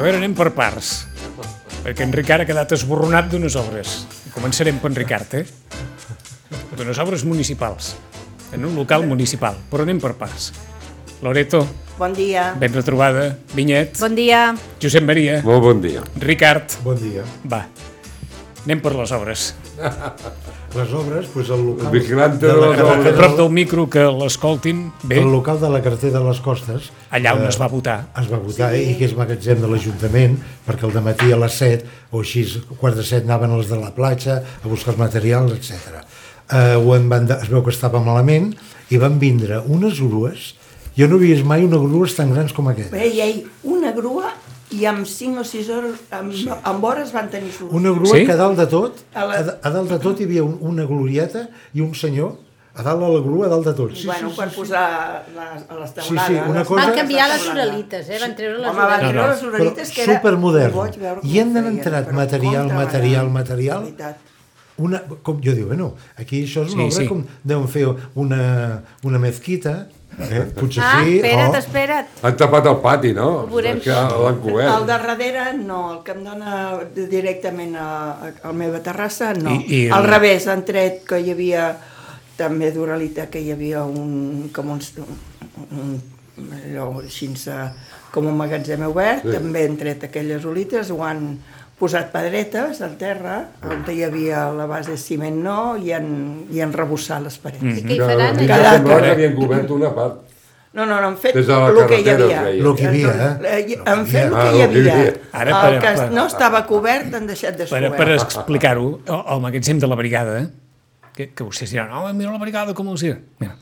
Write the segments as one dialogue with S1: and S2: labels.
S1: veure, anem per parts. Perquè en Ricard ha quedat esborronat d'unes obres. Començarem per en Ricard, eh? D'unes obres municipals, en un local municipal, però anem per parts. Loreto,
S2: Bon dia.
S1: ben retrobada, Vinyet,
S2: Bon dia.
S1: Josep Maria,
S3: Molt bon dia.
S1: Ricard,
S4: Bon dia.
S1: va, anem per les obres.
S4: Les obres, doncs el local...
S3: Vigilante de les
S4: carretera-
S1: A prop del micro que l'escoltin, bé,
S4: El local de la carretera de les Costes
S1: allà on es va votar.
S4: es va votar i que és magatzem de l'Ajuntament, perquè al matí a les 7 o així, quarts de 7, anaven els de la platja a buscar els materials, etc. Eh, ho en van, de- es veu que estava malament i van vindre unes grues jo no havia vist mai unes grues tan grans com aquesta.
S2: Ei, ei, una grua i amb 5 o 6 hores, amb, sí. amb hores van tenir solució.
S4: Una grua
S1: Sí?
S4: que a dalt de tot,
S2: A
S4: a,
S2: la-
S4: da- a dalt de tot hi havia un, una glorieta i un senyor a dalt de la grua, a dalt de tot.
S2: Sí, bueno, sí, per posar les, a les taulades.
S4: Sí, sí, una
S2: les
S4: cosa-
S5: Van
S2: taulades
S5: canviar
S2: de
S5: les
S2: taulada.
S5: orelites, eh? Van treure les
S2: Home, van
S5: orelites.
S2: treure les
S4: Però
S2: orelites que era...
S4: supermodern.
S2: boig veure
S4: I
S2: com
S4: han
S2: ho feien,
S4: entrat
S2: però
S4: material,
S2: com
S4: material,
S2: treballaven,
S4: material.
S2: de veritat.
S4: una, com jo diu, bueno, aquí això és
S1: Sí,
S4: una obra
S1: sí.
S4: com deuen fer una, una mezquita, eh? potser
S5: Ah,
S4: sí,
S5: espera't,
S1: oh.
S4: o...
S5: espera't.
S3: Han tapat el pati, no?
S5: Veurem.
S3: Que l'han
S2: El de
S3: cobert.
S2: darrere, no, el que em dona directament a, a, a la meva terrassa, no.
S1: I- i el-
S2: Al revés, han tret que hi havia també d'oralita, que hi havia un, com uns, un, un allò així, eh, com un magatzem obert, sí. també han tret aquelles olites, ho han posat pedretes al terra, on hi havia la base ciment no, i han, i han rebussat les parets.
S1: Mhm.
S2: Mm.
S5: Què hi faran?
S3: Cada
S2: Cada-
S3: setmana havien cobert una part.
S2: No, no, no, han fet
S3: Des de la
S2: el que hi
S3: carretera,
S2: havia.
S3: es veia.
S4: Lo que hi havia, eh?
S2: Eh, Han fet el
S3: Ah,
S2: que hi
S3: lo que hi
S2: havia.
S3: havia.
S1: Ara,
S2: el
S1: per-
S2: que
S1: per-
S2: no estava cobert han deixat
S1: Per,
S2: descobert.
S1: per explicar-ho, el el magatzem de la brigada, eh? que, que vostès diran, home, mira la brigada com els era. Mira,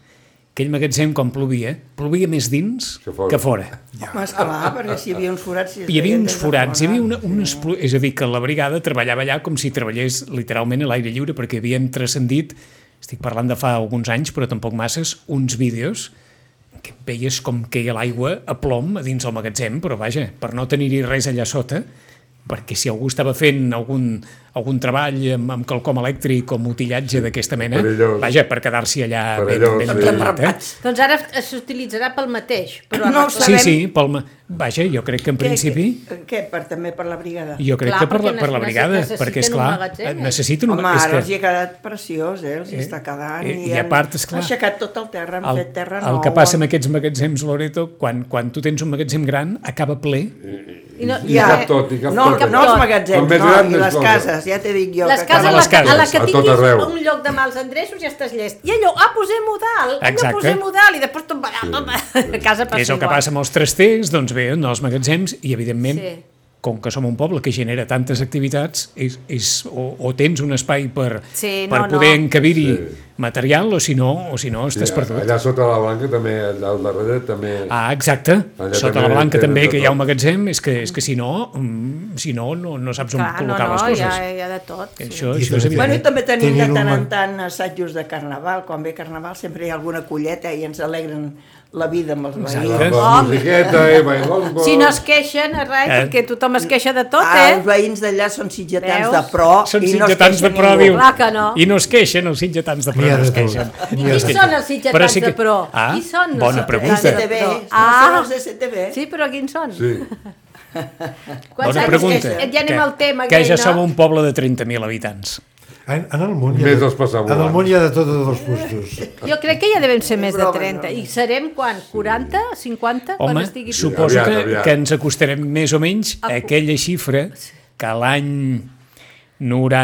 S1: aquell magatzem, quan plovia, plovia més dins
S3: Que fora.
S1: que fora.
S2: Home, esclar, perquè si hi havia uns forats... Si es
S1: Hi havia
S2: veien
S1: uns
S2: des de
S1: forats, hi
S2: fora.
S1: havia una, unes, plu- és a dir, que la brigada treballava allà com si treballés literalment a l'aire lliure, perquè havíem transcendit, estic parlant de fa alguns anys, però tampoc masses, uns vídeos que veies com queia l'aigua a plom a dins el magatzem, però vaja, per no tenir-hi res allà sota, perquè si algú estava fent algun, algun treball amb, amb quelcom elèctric o motillatge d'aquesta mena,
S3: perillós.
S1: vaja, per quedar-s'hi allà ben,
S3: Perillós,
S1: ben
S3: sí.
S1: atrapat, eh?
S5: Doncs ara s'utilitzarà pel mateix, però
S2: No ho
S5: arreglat.
S1: Sí,
S2: Sabem-
S1: sí, pel... ma- Vaja, jo crec que en
S2: Què-
S1: principi...
S2: Què, què, per, també per la brigada?
S1: Jo crec
S5: Clar,
S1: clar, que per la,
S5: perquè
S1: per la
S5: necess-
S1: brigada,
S5: necessiten
S1: perquè, és
S5: un
S1: clar,
S5: magatzem, eh?
S1: necessiten un
S2: Home,
S1: magatzem.
S2: ara
S1: És
S2: els hi
S1: que
S2: ha quedat preciós, eh? Els hi està quedant.
S1: eh, i a
S2: han-
S1: part, esclar,
S2: Han aixecat tot el terra, han
S1: el,
S2: fet terra
S1: el
S2: nova.
S1: que passa en aquests magatzems, Loreto, quan, quan tu tens un magatzem gran, acaba ple.
S5: I no,
S3: I cap tot, i cap
S2: eh, no,
S3: tot.
S2: no els
S3: Com
S2: magatzems,
S3: més
S2: no,
S3: gran,
S2: i
S3: més
S2: les
S3: cosa.
S2: cases, ja t'he dit jo.
S5: les
S2: que
S5: cases,
S2: cada
S1: acaben
S5: a la,
S1: les
S5: que- a la
S1: cases,
S5: que
S3: a tot
S5: tinguis
S3: arreu.
S5: un lloc de mals endreços ja estàs llest. I allò, ah, posem-ho dalt, vinga,
S1: Exacte.
S5: posem-ho dalt, i després tot va a casa passa
S1: és el que
S5: igual.
S1: passa amb els trasters, doncs bé, en els magatzems, i evidentment,
S5: Sí.
S1: com que som un poble que genera tantes activitats, és, és, o, o tens un espai per,
S5: Sí,
S1: per
S5: no, no.
S1: poder encabir-hi
S3: Sí.
S1: material, o si no, o si no estàs perdut.
S3: Allà sota la blanca també, allà al darrere també...
S1: Ah, exacte.
S3: Allà
S1: Sota la
S3: també
S1: blanca
S3: tenen
S1: també,
S3: de
S1: que hi ha
S3: tot.
S1: un magatzem, és que, és que si no, mm, si no, no, no saps on
S5: Clar, no,
S1: col·locar
S5: no,
S1: les coses.
S5: ja, ja de tot. Sí.
S1: Això, això
S4: I
S1: és
S4: també-
S1: evident.
S2: Bueno, i també tenim de
S4: Tenien
S2: tant en
S4: un-
S2: tant assajos de carnaval. Quan ve carnaval sempre hi ha alguna colleta i ens alegren la vida amb els
S1: Exacte.
S2: veïns. Oh,
S3: La musiqueta, eh, bailongo...
S5: Si no es queixen, a rai,
S1: Eh?
S5: perquè tothom es queixa de tot,
S2: Ah, els
S5: eh?
S2: veïns d'allà són sitgetans
S5: Veus?
S2: de pro
S1: Són
S2: Oh, i no es
S1: sitgetans de
S2: queixen
S1: pro,
S2: ningú.
S1: diu.
S5: Clar que no.
S1: I no es queixen, els sitgetans de pro.
S4: N'hi ha
S1: no es
S4: de tot.
S1: queixen.
S4: N'hi
S5: Qui
S4: ha
S1: que-
S5: són els
S1: Però
S5: sitgetans
S1: sí que-
S5: de pro?
S1: Ah,
S5: Qui són els
S1: bona
S5: sitgetans
S1: pregunta.
S5: de
S2: STB,
S5: pro?
S2: no són
S5: Ah,
S2: els STB.
S5: sí, però quins són?
S3: Sí,
S5: Quants
S1: Bona
S5: anys
S1: pregunta.
S5: és? Ja anem al tema,
S1: que, que
S5: Gai,
S1: ja
S5: no?
S1: som un poble de 30.000 habitants.
S4: En, en, el món hi ha
S3: Més
S4: de,
S3: els passavolants.
S4: en el món hi ha de tots els gustos.
S5: Jo crec que ja devem ser més de
S2: broma,
S5: 30.
S2: no?
S5: I serem quan? 40? 50? quan
S1: Home,
S5: estigui...
S1: suposo
S3: Aviat,
S1: que,
S3: aviat.
S1: que ens acostarem més o menys a aquella xifra que l'any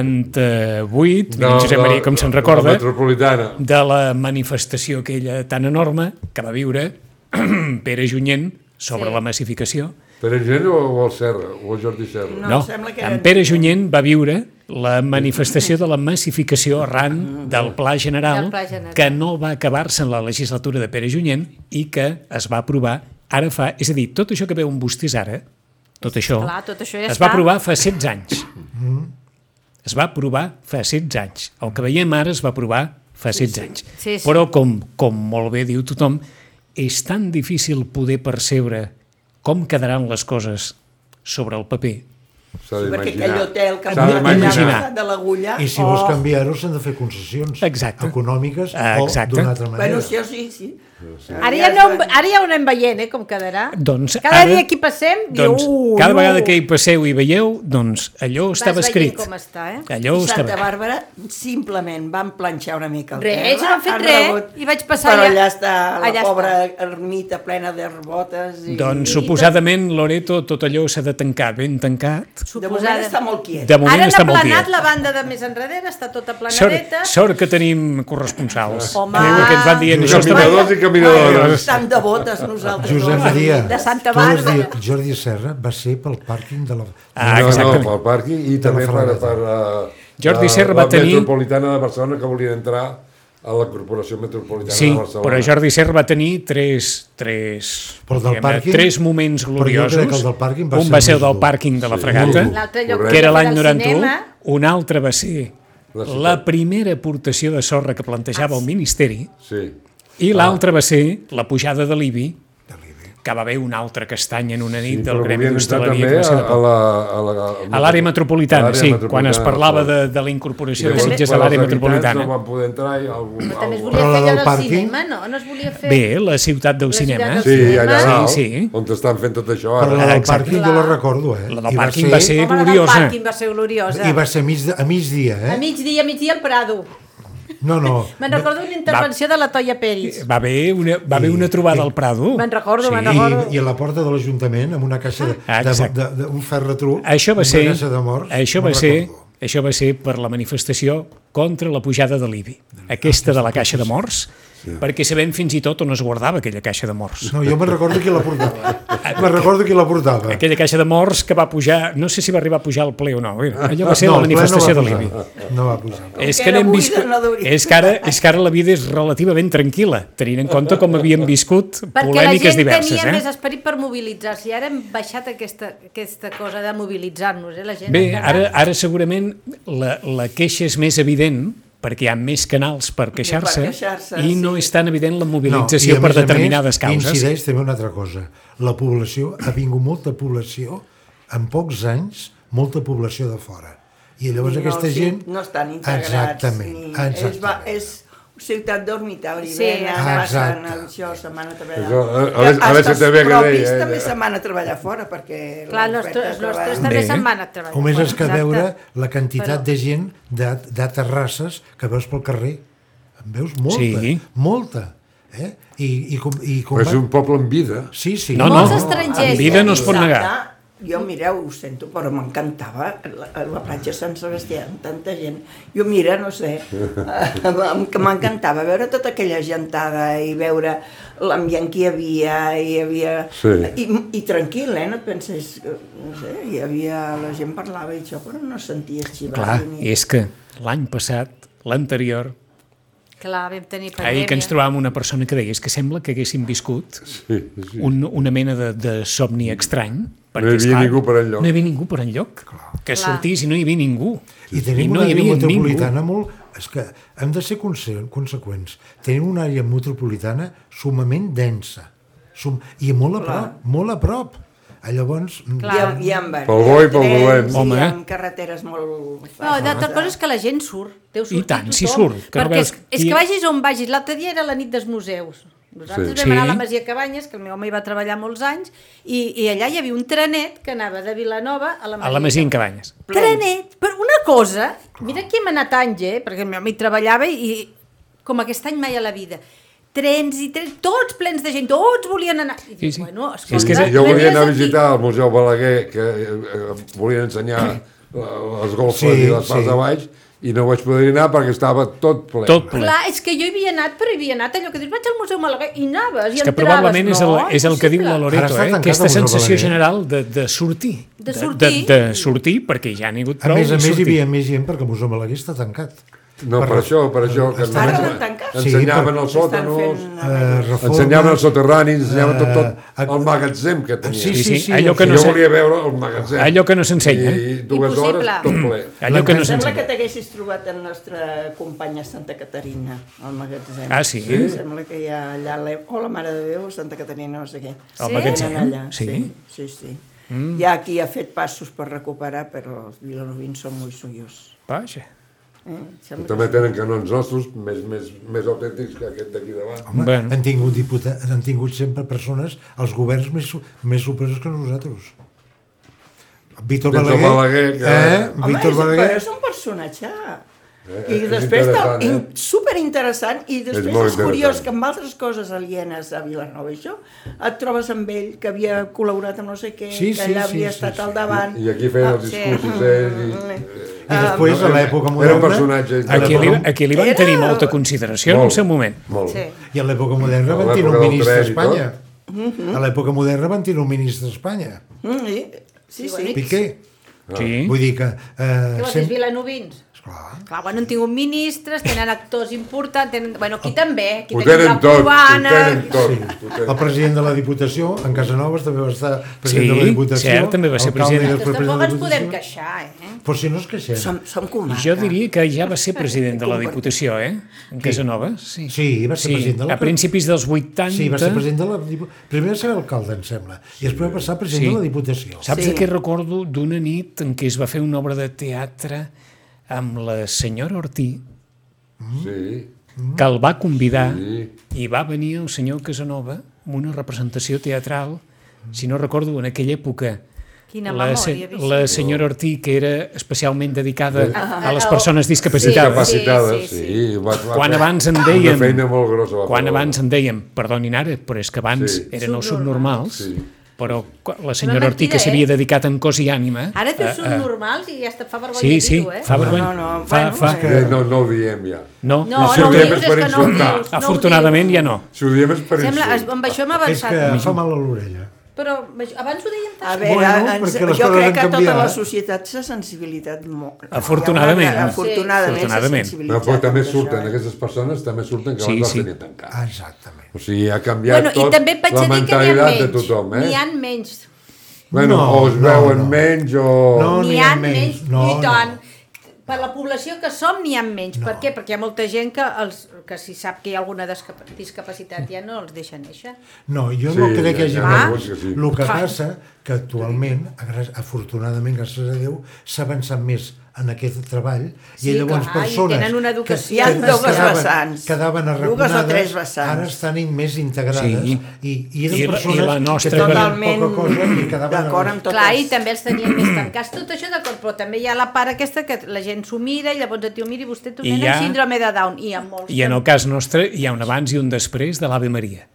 S1: 98, no, Josep Maria, com se'n
S3: La
S1: recorda,
S3: metropolitana.
S1: de la manifestació aquella tan enorme que va viure Pere Junyent sobre
S5: Sí.
S1: la massificació.
S3: Per exemple, o el Serra, o el Jordi Serra.
S2: No,
S1: No,
S2: sembla que
S1: en
S2: eren-
S1: Pere Junyent va viure la manifestació de la massificació arran del Pla General,
S5: Del Pla General.
S1: que no va acabar-se en la legislatura de Pere Junyent i que es va aprovar ara fa... És a dir, tot això que veu un vostès ara, tot això,
S5: clar, tot això ja
S1: es
S5: està.
S1: va aprovar fa 16 anys. Es va aprovar fa 16 anys. El que veiem ara es va aprovar fa 16 anys.
S5: Sí, sí.
S1: Però, com, com molt bé diu tothom, és tan difícil poder percebre com quedaran les coses sobre el paper
S3: S'ha
S2: Perquè aquell hotel que
S3: S'ha
S2: han posat allà al
S1: d'imaginar.
S2: costat de oh. l'agulla...
S4: I si
S5: Oh.
S4: vols canviar-ho s'han de fer concessions
S1: Exacte.
S4: econòmiques
S1: Exacte.
S4: o d'una altra manera.
S2: Bueno, sí, sí, sí.
S3: Sí.
S5: Ara ja, no, em- ara ja ho anem veient, eh, com quedarà.
S1: Doncs
S5: Cada
S1: ara-
S5: dia que hi passem, diu...
S1: Doncs,
S5: "Uh,
S1: cada
S5: no".
S1: vegada que hi passeu i veieu, doncs allò estava
S5: veient
S1: escrit.
S5: com està, eh?
S1: Allò
S2: I Santa
S1: estava...
S2: Bàrbara simplement van planxar una mica el
S5: Res,
S2: terra.
S5: no han fet
S2: han
S5: res,
S2: rebut-
S5: i vaig passar
S2: Però
S5: allà.
S2: allà està la
S5: Allà
S2: allà
S5: està.
S2: pobra ermita plena de rebotes. I...
S1: Doncs
S5: I-
S1: suposadament, Loreto, tot allò s'ha de tancar ben tancat.
S2: de moment està molt quiet.
S1: De moment
S5: Ara
S1: està
S5: n'ha
S1: molt
S5: planat
S1: quiet.
S5: la banda de més enrere, està tota
S1: Sort,
S5: planadeta.
S1: sort que tenim corresponsals.
S5: Home.
S1: Diu que ens van dient, això està...
S3: Caminadors i caminadores.
S2: Tant de botes nosaltres.
S4: Josep
S2: no?
S4: Maria,
S5: de Santa
S4: tu has
S5: Bàrbara.
S4: dit Jordi Serra va ser pel pàrquing de la...
S1: Ah,
S3: no, no,
S1: exactament.
S3: pel pàrquing i també per,
S4: Ferradeta.
S3: per la,
S1: Jordi
S3: la-
S1: Serra
S3: la
S1: va tenir-
S3: metropolitana de Barcelona que volia entrar a la Corporació Metropolitana
S1: Sí,
S3: de Barcelona.
S1: però Jordi Serra va tenir tres, tres,
S4: Però del
S1: diguem-ne,
S4: pàrquing-
S1: tres moments
S4: però jo
S1: gloriosos.
S4: crec que el del pàrquing va
S1: un
S4: ser
S1: va ser
S4: més
S1: el del
S4: dur.
S1: pàrquing de la
S3: Sí,
S1: fregata,
S3: molt dur.
S5: L'altre lloc
S3: Correcte.
S1: que era
S5: va fer
S1: l'any
S5: el
S1: 91.
S5: cinema.
S1: Un altre va ser
S3: La ciutat.
S1: la primera aportació de sorra que plantejava el Ministeri
S3: Sí.
S1: i l'altre va ser la pujada de l'IBI, que va haver una altra castanya en una nit
S3: I
S1: del
S3: però
S1: Gremi
S3: volien entrar
S1: d'Hostaleria.
S3: també
S1: que va ser
S3: a,
S1: de
S3: a
S1: poc.
S3: la... A l'àrea
S1: A l'àrea metropolitana, sí, quan es parlava de, de la
S3: I
S1: incorporació de
S3: després,
S1: sitges a
S3: quan
S1: l'àrea
S3: els habitants
S1: metropolitana.
S3: No van poder entrar i algun...
S5: Però també es
S4: Però
S5: volia
S4: la
S5: fer allò
S4: del
S5: del
S4: pàrquing?
S5: cinema, no? No es volia fer...
S1: Bé, la ciutat del
S5: La
S1: cinema.
S5: ciutat del
S3: Sí, allà
S5: Sí,
S3: dalt,
S1: sí.
S3: on estan fent tot això
S4: Però la
S3: ara.
S4: del
S1: Exacte.
S4: pàrquing jo la recordo, eh?
S1: La del
S4: I
S1: pàrquing va ser
S5: Home, la del
S1: gloriosa.
S5: pàrquing va ser gloriosa.
S4: I va ser a, mig, a migdia,
S5: A
S4: eh?
S5: migdia, a migdia al Prado.
S4: No, no.
S5: Me'n recordo una intervenció de la Toia Peris.
S1: Va haver una, va haver una trobada al Prado.
S5: Me'n recordo, me'n recordo.
S4: I, I a la porta de l'Ajuntament, amb una caixa de,
S1: Ah,
S4: de,
S1: exacte.
S4: de, de, un ferretru,
S1: Això va
S4: una
S1: ser,
S4: caixa de morts,
S1: això
S4: me'n
S1: va ser,
S4: recordo.
S1: això va ser per la manifestació contra la pujada de l'IBI, aquesta de la caixa de morts, perquè sabem fins i tot on es guardava aquella caixa de morts.
S4: No, jo me'n recordo qui la portava.
S1: Ah,
S4: me'n recordo qui la portava.
S1: Aquella caixa de morts que va pujar, no sé si va arribar a pujar al ple o no, Mira, allò va ser
S4: Ah.
S1: la
S4: No, el ple
S1: manifestació
S4: no
S1: de
S4: va
S1: l'IBI.
S4: posar. No va posar.
S1: És
S2: Que
S1: que,
S2: era
S1: n'hem
S2: buida,
S1: viscut,
S2: no duria.
S1: és, que ara, és que ara la vida és relativament tranquil·la, tenint en compte com havíem viscut
S5: Perquè la
S1: polèmiques
S5: gent
S1: diverses.
S5: tenia
S1: eh?
S5: més esperit per mobilitzar-se i ara hem baixat aquesta, aquesta cosa de mobilitzar-nos, eh? La gent
S1: Bé,
S5: encara-
S1: ara, ara segurament la, la queixa és més evident perquè hi ha més canals per queixar-se,
S2: queixar-se,
S1: i
S2: sí.
S1: no és tan evident la
S4: i
S1: mobilització
S4: a
S1: per
S4: més a
S1: determinades
S4: més,
S1: causes.
S4: Incideix també una altra cosa. La població, ha vingut molta població, en pocs anys, molta població de fora. I llavors aquesta
S2: sí,
S4: gent...
S2: No estan integrats.
S4: Exactament.
S2: Ni...
S4: exactament.
S2: És, va, és ciutat dormitori,
S5: Sí.
S2: sí, venen,
S4: Ah,
S2: passen
S4: exacte.
S2: això, se'n van a treballar.
S3: Això, a- a veure- a veure si
S2: Hasta
S3: també
S2: els
S3: que
S2: propis
S3: deia, eh,
S2: també
S3: eh.
S2: se'n van a treballar fora, perquè...
S5: Clar, els
S2: l'oferta
S5: nostres, els
S2: que van-
S5: nostres també
S1: Bé.
S5: se'n van a treballar.
S4: Només has que
S5: Exacte.
S4: veure la quantitat
S5: Però-
S4: de gent de, de terrasses que veus pel carrer. En veus molta,
S1: Sí.
S4: molta. Eh? I, i, com, i com
S3: Però és un poble en vida.
S4: Sí, sí.
S1: No,
S5: Molts
S1: no,
S5: estrangers.
S1: en vida no es pot
S2: Dissabte,
S1: negar.
S2: Jo, mireu, ho sento, però m'encantava la, la platja de Sant Sebastià, amb tanta gent. Jo, mira, no sé, em- que m'encantava veure tota aquella gentada i veure l'ambient que hi havia, hi havia...
S3: Sí.
S2: I, I tranquil, eh? No et penses... eh, No sé, hi havia... La gent parlava i això, però no senties xivar.
S1: Clar, és que l'any passat, l'anterior,
S5: Clar, vam tenir pandèmia.
S1: ahir que ens trobàvem una persona que deia és que sembla que haguéssim viscut
S3: Sí, sí.
S1: un, una mena de, de somni estrany. perquè,
S3: hi havia
S1: esclar,
S3: ningú per enlloc.
S1: No hi havia ningú per enlloc. Que sortís i no hi havia ningú.
S4: I tenim
S1: no
S4: una
S1: hi
S4: àrea
S1: havia
S4: metropolitana molt... És que hem de ser conse- conseqüents. Tenim una àrea metropolitana sumament densa. Sum, I molt a prop, molt a prop. Ah, Llavors,
S2: Hi ha, hi ha
S3: Pel bo i pel dolent.
S1: Home. eh?
S2: Home. Hi ha carreteres molt...
S5: No, d'altra cosa és que la gent surt. Deu sortir
S1: tant, si
S5: tothom,
S1: surt, que no
S5: perquè
S1: veus
S5: és, és
S1: qui-
S5: que vagis on vagis. L'altre dia era la nit dels museus.
S3: Sí.
S5: Nosaltres sí. vam anar a la
S1: Sí.
S5: Masia Cabanyes, que el meu home hi va treballar molts anys, i, i allà hi havia un trenet que anava de Vilanova a la Masia.
S1: A la Masia en Cabanyes.
S5: Trenet, però una cosa, mira que hem anat anys, eh, perquè el meu home hi treballava i com aquest any mai a la vida. Trens i trens, tots plens de gent, tots volien anar. I dic,
S1: sí.
S5: bueno,
S1: És
S5: escolta,
S1: que és-
S3: Jo
S5: venies
S3: volia anar a
S5: aquí.
S3: visitar el Museu Balaguer, que eh, eh, volien ensenyar eh, les golfes
S4: Sí,
S3: i les parts
S4: sí.
S3: de baix, i no vaig poder anar perquè estava tot ple.
S1: Tot ple.
S5: Clar, és que jo hi havia anat, però hi havia anat allò que dius, vaig al Museu Malaguer, i anaves, i
S1: És que
S5: entraves.
S1: probablement
S5: no,
S1: és el, és el que diu la
S5: impossible.
S4: Ara
S1: Loreto,
S4: està
S1: eh?
S4: tancat
S1: aquesta
S4: el Museu
S1: sensació
S4: Balaguer.
S1: general de, de sortir.
S5: De
S1: De,
S5: sortir.
S1: de sortir, perquè ja n'hi ha hagut
S4: a
S1: prou.
S4: més
S1: de
S4: a més, hi
S1: sortir.
S4: havia més gent perquè el Museu Balaguer està tancat.
S3: No, per, això, per això, que
S4: Estan
S3: només
S2: ara tancats?
S3: ensenyaven els
S2: Estan
S3: sòtanos,
S2: fent-
S4: Eh, reforma...
S3: ensenyaven els soterranis, ensenyaven tot,
S4: eh,
S3: tot el magatzem que tenia.
S4: Sí,
S1: Sí, sí,
S4: sí,
S1: allò
S4: sí,
S1: que
S4: sí.
S1: no
S3: jo
S1: se-
S3: volia veure el magatzem.
S1: allò que no s'ensenya.
S3: I, I dues hores,
S5: Impossible.
S3: tot ple.
S1: Allò que no
S2: Sembla
S1: s'ensenya.
S2: que t'haguessis trobat el nostre company a Santa Caterina, al magatzem.
S1: Ah, sí?
S2: Em Sembla que hi ha allà... La... O la Mare de Déu, Santa Caterina, no sé què.
S1: Al
S5: Sí?
S1: magatzem?
S2: Tenen allà,
S1: Sí?
S2: Sí, sí. sí. Mm. Hi ha qui ha fet passos per recuperar, però els vilanovins són molt suyos.
S1: Vaja.
S2: Eh? Sembla
S3: També tenen canons nostres més, més, més autèntics que aquest d'aquí davant.
S1: Bueno.
S4: Home, bueno. han, tingut diputa, han tingut sempre persones, els governs més, su- més superiors que nosaltres. Víctor
S3: Víctor
S4: Balaguer,
S3: Balaguer, que-
S4: eh?
S3: Home,
S2: Home,
S4: Víctor
S2: és,
S4: Balaguer,
S2: però és un personatge.
S3: Eh,
S2: I
S3: és
S2: després,
S3: interessant,
S2: eh?
S3: eh?
S2: superinteressant, i després
S3: molt
S2: és, és curiós
S3: interessant.
S2: que amb altres coses alienes a Vilanova i això, et trobes amb ell, que havia col·laborat amb no sé què,
S4: Sí,
S2: que
S4: sí,
S2: allà
S4: sí,
S2: havia
S4: sí,
S2: estat
S4: sí.
S2: al davant.
S3: I aquí feien els
S2: Sí.
S3: discursos
S5: Mm,
S3: ells i...
S4: i després, a l'època moderna...
S3: Era un personatge
S4: a
S1: Aquí li,
S4: l'època-
S1: aquí li van
S2: Era-
S1: tenir molta consideració en el seu moment.
S3: Molt.
S2: Sí.
S4: I a l'època moderna
S3: A
S4: van tenir
S3: l'època
S4: un
S3: del
S4: ministre
S3: tres i
S4: d'Espanya.
S5: Mhm.
S4: A l'època moderna van tenir un ministre d'Espanya.
S2: Mm, i- sí, sí.
S4: Piqué.
S1: Sí.
S4: Vull dir que...
S5: Què
S4: Eh,
S5: vols dir,
S4: sempre...
S5: vilanovins?
S4: Esclar.
S5: Clar, bueno, han tingut ministres, tenen actors importants, tenen... Bueno, aquí també, eh, aquí
S3: Ho
S5: tenim
S3: tenen
S5: la
S3: tot, ho
S5: cubana...
S3: tenen tot.
S4: Sí.
S3: Ho
S4: El
S3: tenen.
S4: president de la Diputació, en Casanovas, també va estar president
S1: Sí,
S4: de la Diputació.
S1: cert, també va ser
S4: alcalde i
S1: president.
S4: després
S5: Doncs
S4: president de
S5: tampoc
S4: la
S5: ens podem
S4: Diputació.
S5: queixar, eh?
S4: Però si no es queixem.
S2: Som, som comarca.
S1: Jo diria que ja va ser president de la Diputació, eh? En Casanova. Sí,
S4: Sí, va ser president de la-
S1: A principis dels 80...
S4: Sí, va ser president de la Diputació. Primer va ser alcalde, em sembla. I després va ser
S1: Sí.
S4: president de la Diputació.
S1: Saps
S2: Sí.
S1: sí. què recordo d'una nit en què es va fer una obra de teatre amb la senyora Ortí,
S4: Mm.
S3: Sí.
S1: que el va convidar
S3: Sí.
S1: i va venir el senyor Casanova amb una representació teatral, si no recordo, en aquella època.
S5: Quina
S1: la, se-
S5: memòria, Vicent.
S1: la senyora Ortí, que era especialment dedicada a les
S5: Ah,
S1: persones discapacitades.
S5: Sí,
S3: Capacitada, sí.
S5: sí,
S3: sí.
S5: sí.
S3: sí. Va, va
S1: Quan
S3: fer
S1: abans en
S3: Una
S1: deien-
S3: feina molt grossa. Va
S1: Quan
S3: fer,
S1: abans en dèiem, perdonin ara, però és que abans
S3: Sí.
S1: eren els subnormals,
S3: Sí.
S1: però qua- la senyora Ortí,
S5: mentida,
S1: que s'havia
S5: eh?
S1: dedicat en cos i ànima...
S5: Ara
S1: eh,
S5: dius
S1: eh,
S5: són normals i ja està, fa vergonya
S1: Sí, sí,
S5: dir-ho, eh?
S1: fa vergonya.
S2: No, no,
S1: fa,
S2: bueno,
S1: fa,
S2: sí.
S3: Eh, no, no ho diem ja.
S1: No,
S5: No,
S3: Si
S5: no
S3: ho
S5: ho
S3: diem
S5: dius,
S3: és per
S5: és que no ho
S3: insultar.
S5: dius. no ho
S1: afortunadament
S5: dius.
S1: ja no.
S3: Si ho diem és per
S5: Sembla, es-
S3: insult.
S5: amb això hem
S4: És
S5: avançat.
S4: que fa mal a l'orella.
S5: Però això- abans ho deien
S2: A
S5: tant.
S2: veure,
S4: Bueno,
S2: ens,
S4: perquè les
S2: jo
S4: coses han
S2: crec que tota
S4: canviat.
S2: la societat s'ha sensibilitat molt.
S1: Afortunadament.
S2: Hi ha una- Afortunadament s'ha
S1: Afortunadament.
S3: No,
S2: sensibilitzat.
S3: però també
S2: amb això,
S3: surten,
S2: eh?
S3: aquestes persones també surten que
S1: Sí,
S3: abans les
S1: sí.
S3: tenien tancades.
S4: Ah, Exactament.
S3: O sigui, ha canviat
S5: Bueno, i
S3: tot
S5: també et vaig
S3: la
S5: a dir que n'hi ha
S3: mentalitat
S5: menys.
S3: de tothom, eh?
S5: N'hi ha menys.
S3: Bueno,
S4: No,
S3: o es
S4: no,
S3: veuen
S4: no.
S3: menys o...
S4: No,
S5: N'hi
S4: n'hi
S5: ha
S4: ha menys.
S5: menys,
S4: No,
S5: i tant.
S4: no.
S5: Per la població que som n'hi ha menys. Per què? Perquè hi ha molta gent que, els, que si sap que hi ha alguna discap- discapacitat ja no els deixa néixer.
S4: No, jo
S3: Sí,
S4: no crec que hi
S3: hi
S4: hagi
S3: ha
S4: mal.
S3: alguns que sí.
S4: El que passa que actualment, gra- afortunadament, gràcies a Déu, s'ha avançat més en aquest treball
S5: Sí,
S4: i llavors
S5: clar, i
S4: persones...
S5: tenen una educació. Hi ha
S4: antes
S2: dues
S4: quedaven-
S2: vessants.
S4: Quedaven
S2: Dues o
S4: arraconades,
S2: tres vessants.
S4: ara estan in- més integrades
S1: Sí.
S4: i, i eren
S1: I la- i
S4: persones
S1: la nostra-
S4: que tenien
S2: Totalment
S4: poca cosa i quedaven...
S2: d'acord amb totes.
S5: Clar, i també els tenien més tancats. Tot això d'acord, però també hi ha la part aquesta que la gent s'ho mira i llavors et diu, miri, vostè té un
S1: I
S5: nen
S1: hi ha-
S5: amb síndrome de Down. I hi ha molts.
S1: I en el cas nostre hi ha un abans i un després de l'Ave Maria,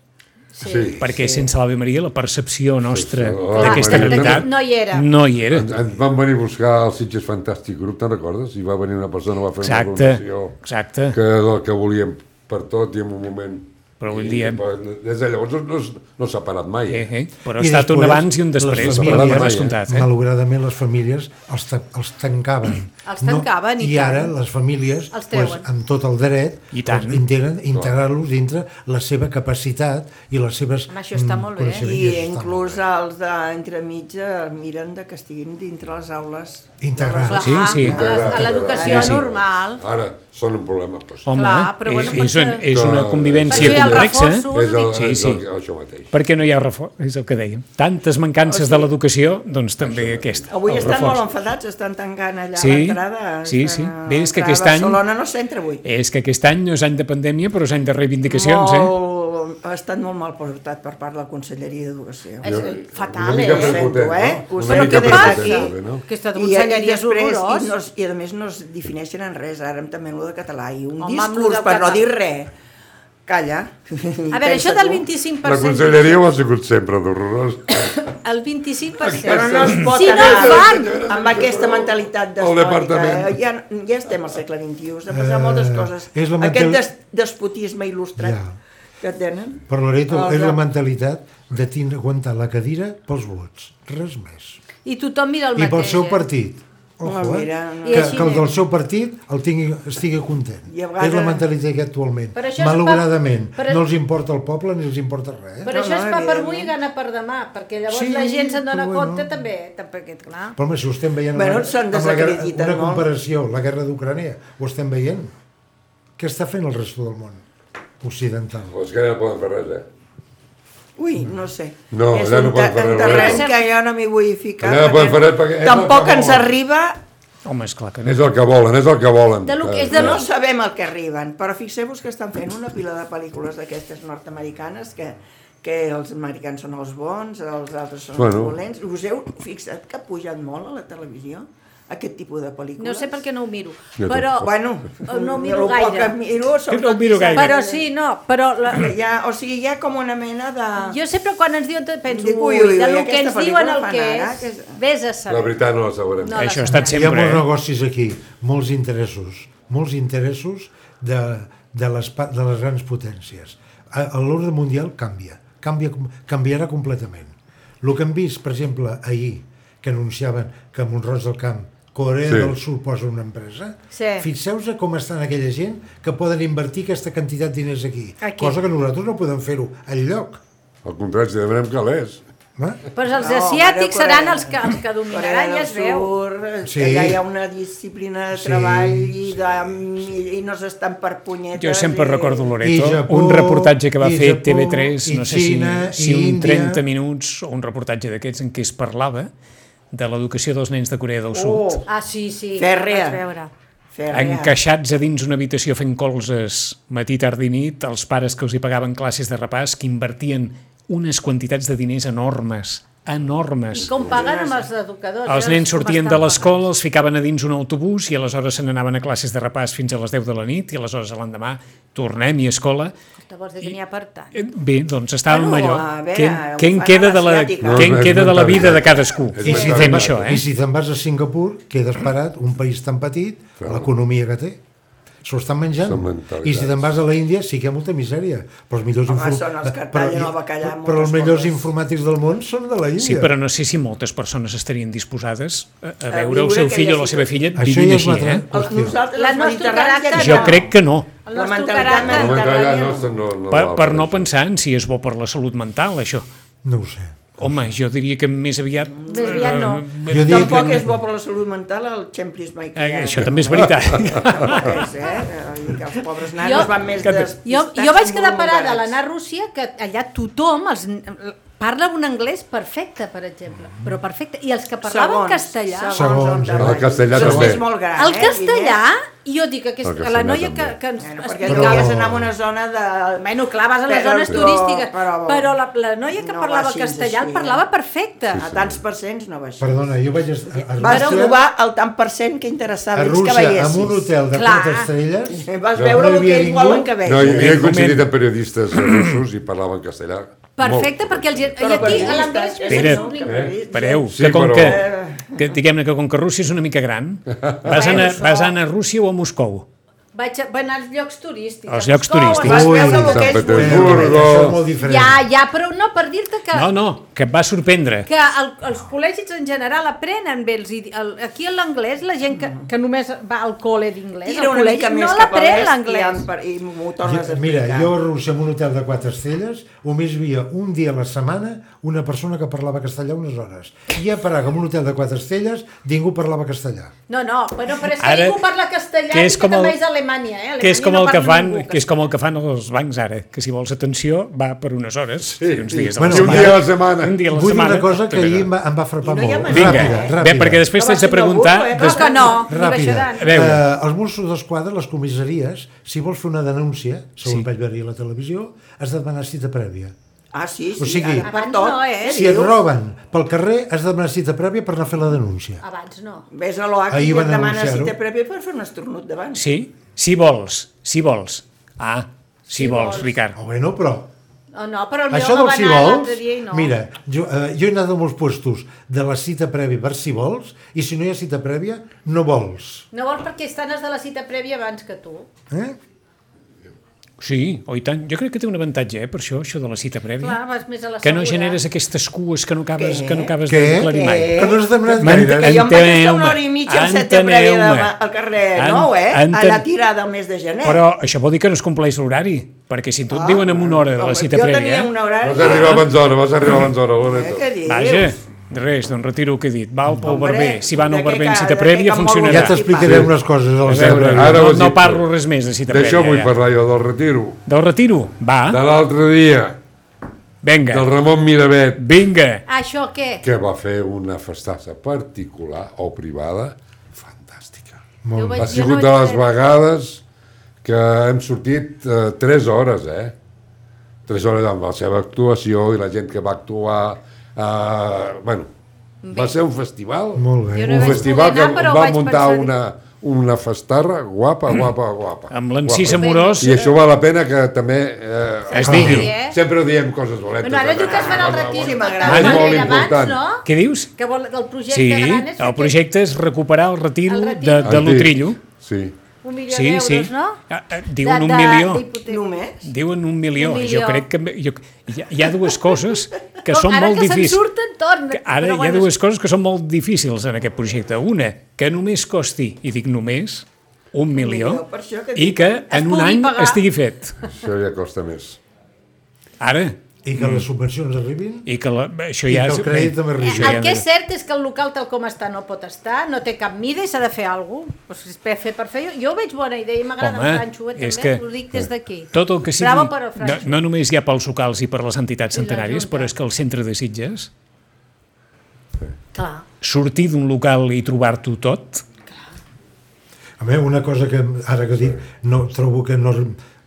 S3: Sí.
S1: perquè sense l'Ave Maria la percepció nostra
S3: Sí, sí.
S1: d'aquesta
S3: Clar,
S1: realitat
S5: no hi era.
S1: No hi era.
S3: Ens, ens van venir a buscar el Sitges Fantàstic Grup, te'n recordes? I va venir una persona, va fer una
S1: Exacte,
S3: formació
S1: exacte.
S3: que era el que volíem per tot i en un moment...
S1: Però avui
S3: I-
S1: dia-
S3: però Des de llavors no, no, s- no s'ha parat mai.
S1: Eh, eh.
S3: Eh?
S1: Però ha
S4: I
S1: estat un
S4: després,
S1: abans i un
S4: les
S1: després,
S3: famílies-
S1: per
S3: Mai, eh?
S1: descomptat. Eh?
S4: Malauradament les famílies els, ta els tancaven.
S5: Els tancaven,
S4: no? i,
S5: i
S4: ara
S5: tant.
S4: les famílies,
S5: Els treuen.
S4: pues, amb tot el dret,
S1: I tant.
S4: doncs, intenten integrar-los dintre la seva capacitat i les seves...
S5: Home, això està
S4: mm,
S5: molt bé. eh?
S4: coneixements.
S2: I
S4: I això està
S2: inclús
S4: molt
S2: els d'entre mitja miren de que estiguin dintre les aules.
S4: bé. Integrar.
S5: Clar,
S1: Sí, sí.
S5: a la- a l'educació
S1: Sí, sí.
S5: normal.
S3: eh? Ara són un problema. Però...
S1: Home, eh,
S5: Clar, però bueno,
S1: és,
S5: pot
S1: és, un,
S5: ser-
S1: és una
S3: Clar,
S1: convivència
S5: Per això hi ha el
S1: complexa,
S5: reforço.
S3: És, el,
S1: Oh. Sí,
S3: és
S1: sí.
S3: El, això mateix.
S1: perquè no hi ha reforç, és el que dèiem. Tantes mancances de l'educació, doncs també aquesta.
S2: Avui
S1: el
S2: estan
S1: reforç.
S2: molt enfadats, estan tancant allà
S1: Sí,
S2: l'entrada.
S1: sí,
S2: estan
S1: sí.
S2: a
S1: Bé, és que
S2: l'entrada
S1: aquest
S2: a
S1: any- Eh,
S2: Barcelona no s'entra avui.
S1: És que aquest any no és any de pandèmia, però és any de reivindicacions, eh?
S2: molt, Ha estat molt mal portat per part de la Conselleria d'Educació.
S5: És
S3: Una
S5: fatal,
S3: mica
S5: eh?
S3: prepotent,
S2: Sento, eh?
S3: no?
S2: Us
S3: Una
S2: sento
S3: mica
S2: que
S3: prepotent,
S2: passi.
S3: també, No?
S5: Aquesta
S2: I, i,
S5: donzelleria és
S2: després, i, no,
S5: horrorós.
S2: es- i a més no es defineixen en res, ara amb també en lo de català, i un
S5: Home, amb lo
S2: discurs
S5: del
S2: per no
S5: català.
S2: dir res. Calla.
S5: A veure, això del 25%...
S3: La conselleria ho ha sigut sempre d'horrorós.
S5: El 25%.
S2: Però no es pot
S5: si no
S2: anar
S5: el fan,
S2: amb aquesta mentalitat
S3: El
S2: despòtica.
S3: departament.
S2: eh? Ja, ja estem al segle XXI, s'ha passat moltes
S4: Eh,
S2: coses.
S4: és la mental-
S2: Aquest des, despotisme il·lustrat
S4: Ja.
S2: que tenen.
S4: Però, Loreto,
S2: Els
S4: és
S2: de-
S4: la mentalitat de tindre aguantar la cadira pels vots, res més.
S5: i tothom mira el
S4: I
S5: mateix.
S4: pel seu
S5: eh?
S4: partit. Ojo,
S2: No, mira,
S4: eh?
S2: no.
S5: I
S4: que,
S5: així
S4: que el
S5: anem.
S4: del seu partit el tingui, estigui content.
S2: I a
S4: És la
S2: vegades-
S4: mentalitat que actualment.
S5: Però això és
S4: Malauradament,
S5: pa- però-
S4: no els importa el poble ni els importa res. eh?
S5: Però
S2: No,
S5: això
S2: no,
S5: es fa per avui i
S2: evidentment.
S5: gana per demà, perquè llavors
S4: Sí,
S5: la gent se'n dona
S4: però bueno.
S5: compte també, també que, clar.
S4: Però home, si ho estem veient amb
S2: Bueno,
S4: la-
S2: s'han
S4: amb la guerra-
S2: desacreditat
S4: una
S2: molt.
S4: comparació, la guerra d'Ucrània, ho estem veient. Què està fent el resto del món occidental?
S3: Però és que ara no poden fer res, eh?
S2: Ui, no sé.
S3: No,
S2: és
S3: allà
S2: un
S3: no poden
S2: te-
S3: fer
S2: un
S3: res.
S2: terreny que jo no m'hi vull ficar.
S3: Allà no poden
S2: perquè
S3: fer res perquè és la
S2: Tampoc
S3: famosa.
S2: ens arriba
S1: Home, esclar que no.
S3: És el que volen, és el que volen.
S5: De lo que és de
S3: Eh,
S5: lo-
S2: No sabem el que arriben, però fixeu-vos que estan fent una pila de pel·lícules d'aquestes nord-americanes que, que els americans són els bons, els altres són
S3: Bueno.
S2: els dolents. Us heu fixat que ha pujat molt a la televisió aquest tipus de pel·lícules?
S5: No sé per què no ho miro,
S3: Jo
S5: però...
S2: Bueno,
S5: No ho miro
S2: el poc
S5: gaire.
S2: que Miro, són
S1: No ho miro gaire.
S5: Però sí, no, però... La,
S2: Que Hi ha, o sigui, hi ha com una mena de...
S5: jo sempre quan ens diuen tot penso,
S2: Dic, ui,
S5: ui,
S2: ui,
S5: de lo
S2: aquesta
S5: que ens
S2: pel·lícula
S5: diuen el
S2: fan
S5: que
S2: ara, que
S5: és,
S2: és-
S5: vés a
S3: La
S5: saber.
S3: veritat no la sabrem.
S5: No.
S1: Això ha estat
S4: Hi ha
S1: sempre,
S4: molts
S1: eh?
S4: negocis aquí, molts interessos, molts interessos de, de, les, pa- de les grans potències. A- a L'ordre mundial canvia, canvia, com- canviarà completament. El que hem vist, per exemple, ahir, que anunciaven que a Montroig del Camp Corea
S3: Sí.
S4: sí. del Sud posa una empresa,
S5: Sí.
S4: fixeu-vos com estan aquella gent que poden invertir aquesta quantitat de diners aquí,
S5: Aquí.
S4: cosa que nosaltres no podem fer-ho enlloc.
S3: Al contrari, si demanem calés.
S4: Eh?
S5: Però els
S2: No,
S5: asiàtics
S2: Corea-
S5: seran els que, els que dominaran, ja es veu.
S2: Sur,
S4: Sí.
S2: sí. allà hi ha una disciplina de
S4: Sí,
S2: treball i, de, i, i no s'estan per punyetes.
S1: eh? Jo sempre
S2: i...
S1: recordo
S4: I
S1: Loreto,
S4: Japó,
S1: un reportatge que va
S4: i
S1: fer
S4: Japó,
S1: TV3,
S4: i
S1: no sé
S4: Xina,
S1: si, si
S4: i
S1: un
S4: Índia.
S1: 30 minuts o un reportatge d'aquests en què es parlava de l'educació dels nens de Corea del Sud,
S2: Oh,
S5: Ah, sí, sí,
S2: Fèrrea.
S5: vaig veure.
S2: fèrrea.
S1: encaixats a dins una habitació fent colzes matí, tard i nit, els pares que els hi pagaven classes de repàs, que invertien unes quantitats de diners enormes,
S5: I
S1: enormes.
S5: com paguen amb els educadors.
S1: Els
S5: eh,
S1: nens
S5: com
S1: sortien de
S5: estan
S1: l'escola, els ficaven a dins un autobús i aleshores se n'anaven a classes de repàs fins a les 10 de la nit i aleshores l'endemà tornem i escola.
S5: pagant. Llavors, de que n'hi ha per tant.
S1: Eh, Bé, doncs estàvem allò.
S2: Bueno, a veure,
S1: Què, en-
S2: ho
S1: què en
S2: fan
S1: queda
S2: a
S1: de la,
S2: l'asiàtica.
S1: què en
S3: No, és
S1: queda de la
S3: mentalitat.
S1: vida de cadascú?
S3: És
S1: I si
S3: mentalitat.
S1: fem això, eh?
S4: I si te'n vas a Singapur, quedes parat, un país tan petit,
S3: Clar.
S4: l'economia que té. S'ho estan menjant.
S3: Són mentalitats.
S4: I si te'n vas a la Índia, sí que hi ha molta misèria. Però els millors,
S2: Home, són els que
S4: però,
S2: tallen el bacallà en
S4: però
S2: moltes
S4: els millors
S2: coses.
S4: informàtics del món són de la Índia.
S1: Sí, però no sé si moltes persones estarien disposades a, a veure el
S2: viure
S1: seu fill
S2: aquella
S1: o la seva filla
S4: Això
S1: vivint
S4: ja és
S1: així,
S4: una
S1: eh?
S4: altra-
S2: Els
S4: Hòstia.
S2: nosaltres,
S5: La
S2: els
S5: nostra
S2: mediterranis,
S5: caràcter-
S2: ja
S1: Jo
S2: no.
S1: crec que no.
S5: El
S2: La
S5: nostre
S2: mentalitat
S5: caràcter...
S3: No, encara
S2: no.
S3: no, no, no, no
S1: Per,
S3: val
S1: per no
S3: això.
S1: pensar en si és bo per la salut mental, això.
S4: No ho sé.
S1: Home, jo diria que més aviat...
S5: Més aviat no.
S1: eh,
S4: Jo diria
S2: Tampoc
S4: que-
S2: és bo per la salut mental el Champions Mike.
S1: eh, Això també és veritat.
S2: és, eh? Vull dir que els pobres nanos
S5: Jo-
S2: van més
S5: Jo,
S2: despistats.
S5: jo vaig quedar
S2: molt
S5: parada a
S2: moderats.
S5: l'anar a Rússia, que allà tothom els, parla un anglès perfecte, per exemple, però perfecte. I els que parlaven
S2: Segons,
S5: castellà...
S4: Segons,
S2: on
S4: el
S2: treballa.
S3: castellà
S2: Això
S3: també.
S2: És molt gran,
S5: El
S2: eh,
S5: castellà,
S2: Guillem?
S5: jo dic que, aquesta,
S3: El
S5: que
S3: castellà
S5: la noia que,
S3: també.
S5: que ens
S2: Bueno, perquè
S5: explicava...
S2: tu has
S4: Però-
S2: d'anar a una zona de...
S5: Bueno, clar, vas a les
S2: Però-
S5: zones
S2: però-
S5: turístiques, però,
S2: però-
S5: la, la noia que
S2: No
S5: parlava
S2: baixis
S5: castellà el
S2: així.
S5: parlava perfecte.
S2: A tants percents no baixes.
S4: Perdona, jo vaig a, a, a
S2: Vas
S4: Rússia,
S2: trobar el tant percent que interessava
S4: a
S2: ells que
S4: Rússia amb un
S2: veiessis.
S4: hotel de
S5: Clar.
S4: quatre estrelles...
S2: Vas
S4: no
S2: veure
S4: hi
S2: el que
S4: havia
S2: ells
S4: ningú.
S2: volen que
S3: No,
S2: vegis.
S3: hi, hi he coincidit amb periodistes russos i parlaven castellà.
S5: Perfecte,
S3: Molt.
S5: perquè els, i
S2: Però
S5: aquí
S2: quan
S5: a l'anglès...
S2: estàs-
S1: Espera,
S5: és un-
S3: eh?
S1: Pareu,
S3: Sí,
S1: que com
S3: però-
S1: que, que diguem-ne que com que Rússia és una mica gran, vas
S5: Bueno,
S1: anar,
S5: això-
S1: vas anar a Rússia o a Moscou?
S5: Vaig a, vaig anar als llocs turístics.
S1: Als llocs
S5: Moscou,
S1: turístics.
S2: Vas
S4: Ui,
S2: veure el
S3: Sant
S2: que ells
S3: Petersburg.
S2: volien.
S4: Això és molt diferent.
S5: Ja, ja, però no, per dir-te que...
S1: No, no, que et va sorprendre.
S5: que el, els col·legis en general aprenen bé els, idi- el, aquí a l'anglès la gent que, que només va al col·le d'inglès
S2: Tira
S5: al
S2: una mica
S5: col·legi
S2: més
S5: no
S2: cap a
S5: l'aprèn
S2: l'est i,
S5: l'anglès
S2: em per- i m'ho
S4: Jo,
S2: tornes a
S4: mira,
S2: explicar.
S4: jo a Rússia, en un hotel de quatre estrelles, només hi havia un dia a la setmana una persona que parlava castellà unes hores. I a Praga, en un hotel de quatre estrelles, ningú parlava castellà.
S5: no, no, bueno, però és que
S1: Ara,
S5: ningú parla castellà
S1: que és
S5: i
S1: com
S5: que
S1: el-
S5: també és a Alemanya, eh? Alemanya
S1: que és com
S5: no
S1: el que
S5: parla
S1: fan,
S5: ningú
S1: que és com el que fan els bancs ara, que si vols atenció va per unes hores sí, i uns dies a la
S4: Bueno,
S3: I un
S1: setmana.
S3: dia a la setmana.
S1: Un dia a la
S4: Vull dir
S1: setmana.
S4: una cosa que
S1: també no.
S4: ahir em va, em va frapar
S2: I no hi ha
S4: molt.
S2: manera.
S1: Vinga, eh?
S4: ràpida, ràpida.
S1: bé, perquè després
S2: No va
S1: t'haig de
S2: ser una
S1: preguntar...
S2: burla, eh?
S5: Clar
S1: des-
S5: que no, ni
S4: Ràpida.
S5: baixaran.
S1: A veure.
S4: Eh, els Mossos d'Esquadra, les comissaries, si vols fer una denúncia, segons
S1: Sí.
S4: sí. vaig veure a la televisió, has de demanar cita prèvia.
S2: Ah, sí, sí,
S4: O sigui,
S2: ara per
S5: Abans
S2: tot.
S5: no, eh?
S4: Si et roben pel carrer, has de demanar cita prèvia per anar a fer la denúncia.
S2: Ah.
S5: abans no
S2: Ves a l'OH i
S4: Ahir
S2: et
S4: van
S2: demana
S4: anunciar-ho.
S2: cita prèvia per fer un estornut davant.
S1: Sí, si vols, si vols. Ah, si, vols, Ricard.
S4: Ah, bueno, però
S5: no, Oh, no, però el
S4: Això
S5: meu
S4: del
S5: va
S4: si
S5: anar
S4: vols,
S5: l'altre dia i no
S4: mira, jo, eh, jo he anat a molts puestos de la cita prèvia per si vols, i si no hi ha cita prèvia, no vols.
S5: no vols perquè estan els de la cita prèvia abans que tu
S4: Eh?
S1: Sí, oi tant. Jo crec que té un avantatge, eh, per això, això de la cita prèvia.
S5: clar, vas més a la
S1: que no
S5: segura.
S1: generes aquestes cues que no acabes,
S2: Què?
S1: que no acabes
S4: Què?
S1: d'aclarir mai.
S4: Que no has demanat
S1: M'han-
S4: gaire.
S2: Que jo
S4: eh?
S2: em vaig estar
S1: Enteneu-me,
S2: una hora i mitja amb set de prèvia
S1: enteneu-me.
S2: de- al carrer
S1: En-
S2: nou, eh? A
S1: enten-
S2: la tirada al mes de gener. Ah.
S1: Però això vol dir que no es compleix l'horari, perquè si tu
S5: Ah.
S1: et diuen en una hora de la cita
S2: jo
S1: prèvia... eh?
S2: tenia una horari...
S3: Vas arribar abans d'hora, vas arribar abans d'hora,
S2: Eh, què
S3: Loreto.
S2: dius?
S1: Vaja, res, doncs retiro el que he dit. Val pel
S2: Hombre,
S1: barber. Si van al
S2: de què
S1: barber en
S2: ca-
S1: cita
S2: de què
S1: prèvia,
S2: que em
S1: funcionarà.
S4: Ja
S2: vulguis
S4: t'explicaré
S3: Sí.
S4: unes coses de
S1: A
S4: la cita
S1: veure,
S4: prèvia.
S3: ara ho
S1: no,
S3: has
S1: no
S3: dit,
S1: parlo
S3: però.
S1: res més de cita prèvia.
S3: D'això vull
S1: ja.
S3: parlar jo, del retiro.
S1: Del retiro? Va,
S3: De l'altre dia,
S1: vinga,
S3: del Ramon Miravet,
S1: vinga.
S5: això què?
S3: que va fer una festassa particular o privada fantàstica.
S4: Molt
S5: Jo
S4: bé.
S5: vaig-
S3: Ha
S5: jo
S3: sigut
S5: no
S3: de
S5: vaig
S3: les
S5: fer-
S3: vegades que hem sortit eh, 3 hores, eh? 3 hores amb la seva actuació i la gent que va actuar... Eh, bueno, va ser un festival.
S4: Molt bé.
S5: Jo no
S3: Un
S5: vaig
S3: festival
S5: poder anar,
S3: que
S5: però
S3: va
S5: vaig
S3: muntar
S5: pensar-
S3: una, una festarra guapa, guapa, guapa.
S1: Amb l'Encís
S3: Guapa.
S1: Amorós
S3: I això val la pena que també... Eh,
S1: Es digui.
S3: Sí, eh? Sempre diem coses eh? dolentes.
S5: Bueno, ara diu que es van al
S3: Guapa,
S5: retiro.
S3: guapa.
S2: Sí, m'agrada.
S3: És molt
S5: Abans,
S3: important.
S5: No?
S1: Què dius?
S5: Que vol, el projecte
S1: Sí,
S5: gran és
S1: el projecte és recuperar el retil
S5: El
S1: de,
S5: retil.
S1: de
S3: Antic.
S1: l'Utrillo.
S3: Sí.
S5: un milió
S1: Sí,
S5: d'euros,
S1: sí.
S5: no?
S1: Ah, ah, Diuen un milió.
S5: d'hipoteca.
S2: Només?
S1: Diuen un milió.
S5: Un milió.
S1: Jo crec que... Jo, hi, ha, hi ha dues coses que
S5: Però
S1: són
S5: ara
S1: molt
S5: que
S1: difícils.
S5: se'n surten, tornen.
S1: Que Ara
S5: Però
S1: hi ha
S5: bueno,
S1: dues coses que són molt difícils en aquest projecte. Una, que només costi, i dic només, un milió,
S2: milió, per això que
S1: i
S2: dic,
S1: que
S5: es
S1: en un
S5: pugui
S1: any
S5: pagar.
S1: estigui fet.
S3: Això ja costa més.
S1: Ara,
S4: I que les subvencions arribin
S1: i que la, això
S4: i
S1: ja...
S4: que el
S1: és-
S4: crèdit també arribi.
S1: ja
S5: Eh, El que
S1: no-
S5: és cert és que el local tal com està no pot estar, no té cap mida i s'ha de fer alguna cosa. Pues, és per fer, per fer. Jo ho veig bona idea i m'agrada
S1: Home,
S5: el Franxo, eh,
S1: és
S5: també,
S1: que
S5: ho dic des d'aquí.
S1: Tot el que sigui,
S5: Bravo per al
S1: no,
S5: Franxo.
S1: no només hi ha pels locals i per les entitats
S5: I la
S1: centenàries,
S5: Junta.
S1: però és que el centre de Sitges,
S5: Clar.
S1: sortir d'un local i trobar-t'ho tot,
S4: A mi una cosa que ara que dic no, trobo que no,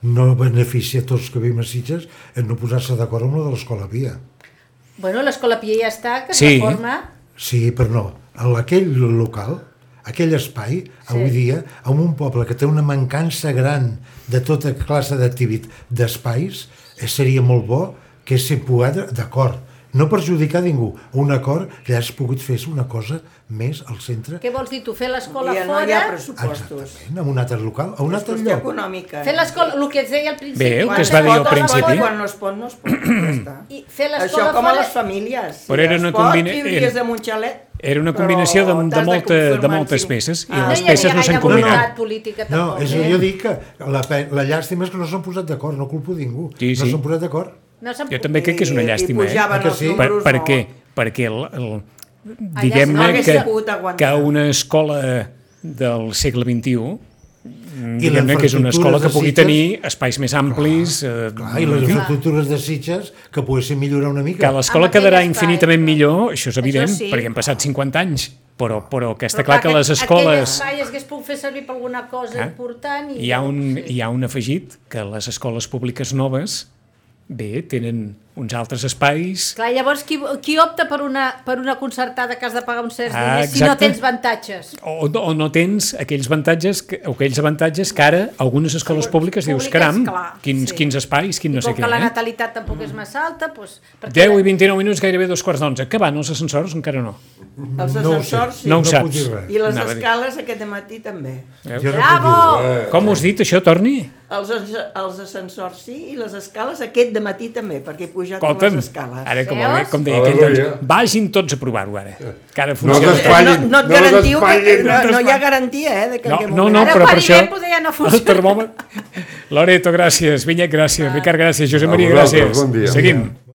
S4: no beneficia a tots que vivim a Sitges és no posar-se d'acord amb la de l'escola Pia.
S5: Bueno, l'escola Pia ja està, que
S1: Sí.
S5: sí. reforma.
S4: Sí, però no. En aquell local, aquell espai, sí. avui dia, en un poble que té una mancança gran de tota classe d'activit d'espais, eh, seria molt bo que s'hi pogués d'acord. No perjudicar ningú. Un acord que has pogut fer una cosa més al centre,
S5: Què vols dir tu? Fer l'escola
S2: Ja no hi
S5: fora?
S2: ha pressupostos.
S4: en un altre local, a un
S2: És
S4: altre
S2: qüestió
S4: lloc.
S2: econòmica.
S5: Fer l'escola, el que et deia al principi.
S1: Bé, el
S2: Quan
S1: Eh, que es va
S2: es
S1: dir al
S2: pot, es pot,
S1: principi.
S2: Quan no es pot, no es pot. ja està.
S5: I fer l'escola
S2: Això com a
S5: fora-
S2: les famílies.
S1: Però
S2: Si
S1: era
S2: es
S1: una
S2: pot,
S1: combina-
S2: Viuries
S1: era-
S2: amb un xalet.
S1: era una
S2: però
S1: combinació de- de
S2: t'has
S1: molta- de
S2: conformar en
S1: moltes
S2: cinc.
S1: peces, i
S2: Ah.
S1: les
S5: no hi
S1: peces
S5: havia
S1: no s'han
S5: gaire
S1: combinat.
S5: voluntat política,
S4: No,
S5: tampoc.
S4: és,
S5: eh?
S4: jo dic que la, pe- la llàstima és que no s'han posat d'acord, no culpo ningú.
S1: Sí,
S4: No
S1: sí.
S4: s'han posat d'acord.
S5: No se'n
S1: jo
S5: pot-
S1: també crec que és una
S2: I- i
S1: llàstima.
S2: pujaven
S4: Eh que
S2: els
S4: sí?
S1: Per,
S2: números,
S1: per
S2: no.
S1: què? Perquè el, el,
S5: no
S1: diguem-ne
S5: hagués
S1: que,
S2: pogut aguantar.
S1: que una escola del segle XXI mm,
S4: I
S1: diguem-ne que és una
S4: l'infraestructura
S1: escola que
S4: de
S1: pugui
S4: Sitges-
S1: tenir espais més amplis, eh,
S4: Clar, I les infraestructures de Sitges que poguessin millorar una mica.
S1: que l'escola
S5: Amb aquell
S1: quedarà
S5: espai,
S1: infinitament
S5: clar.
S1: millor, això és evident,
S5: sí.
S1: perquè han passat 50 anys, però, però que està
S5: Però
S1: clar que les
S5: aqu- Aquell
S1: escoles...
S5: espai es hagués pogut fer servir per alguna cosa
S1: Eh?
S5: important. I,
S1: Hi ha, un, hi ha un afegit que les escoles públiques noves, bé, tenen uns altres espais,
S5: Clar, llavors qui, qui opta per una, per una concertada que has de pagar uns certs
S1: Ah,
S5: diners si no
S1: exacte.
S5: tens avantatges?
S1: o, no- o no tens aquells avantatges que, o aquells avantatges que ara algunes escoles públiques dius,
S5: Públiques,
S1: caram,
S5: clar,
S1: quins,
S5: sí.
S1: quins espais, quin
S5: I
S1: no sé
S5: com
S1: què.
S5: que la
S1: Eh?
S5: natalitat tampoc és massa alta, doncs...
S1: 10 i 29 minuts, gairebé dos quarts d'onze. Que van els ascensors? Encara no.
S2: Els
S4: No ho sé.
S2: ascensors sí.
S1: No ho
S4: puc
S1: saps.
S4: dir res.
S2: I les
S1: Anava a dir.
S2: escales aquest matí també.
S4: Jo no puc dir
S3: Eh,
S4: res.
S5: Bravo!
S1: Com us dit això, Torni?
S2: Els, as- els ascensors sí i les escales aquest de matí també, perquè he pujat a
S1: Escolta'm,
S2: les escales.
S1: ara com,
S5: Veus?
S1: com deia aquell,
S3: Aleluia.
S1: doncs, vagin tots a provar-ho ara, que ara
S3: Eh. No
S1: funciona.
S3: t'espa-
S2: no,
S3: Espallin,
S2: no et
S3: no les
S2: garantiu que,
S3: espallin,
S2: no,
S3: no
S2: no hi ha garantia, eh, de que en
S1: No,
S2: aquest
S1: no,
S2: moment-
S1: no,
S5: Ara
S1: però
S5: quan
S1: per
S5: hi
S1: això...
S5: ve poder ja no funciona.
S1: El termòmetre... Loreto, gràcies. Vinyet, gràcies. Ricard, gràcies. Josep
S3: A
S1: Maria, gràcies.
S3: vosaltres, bon dia.
S1: Seguim.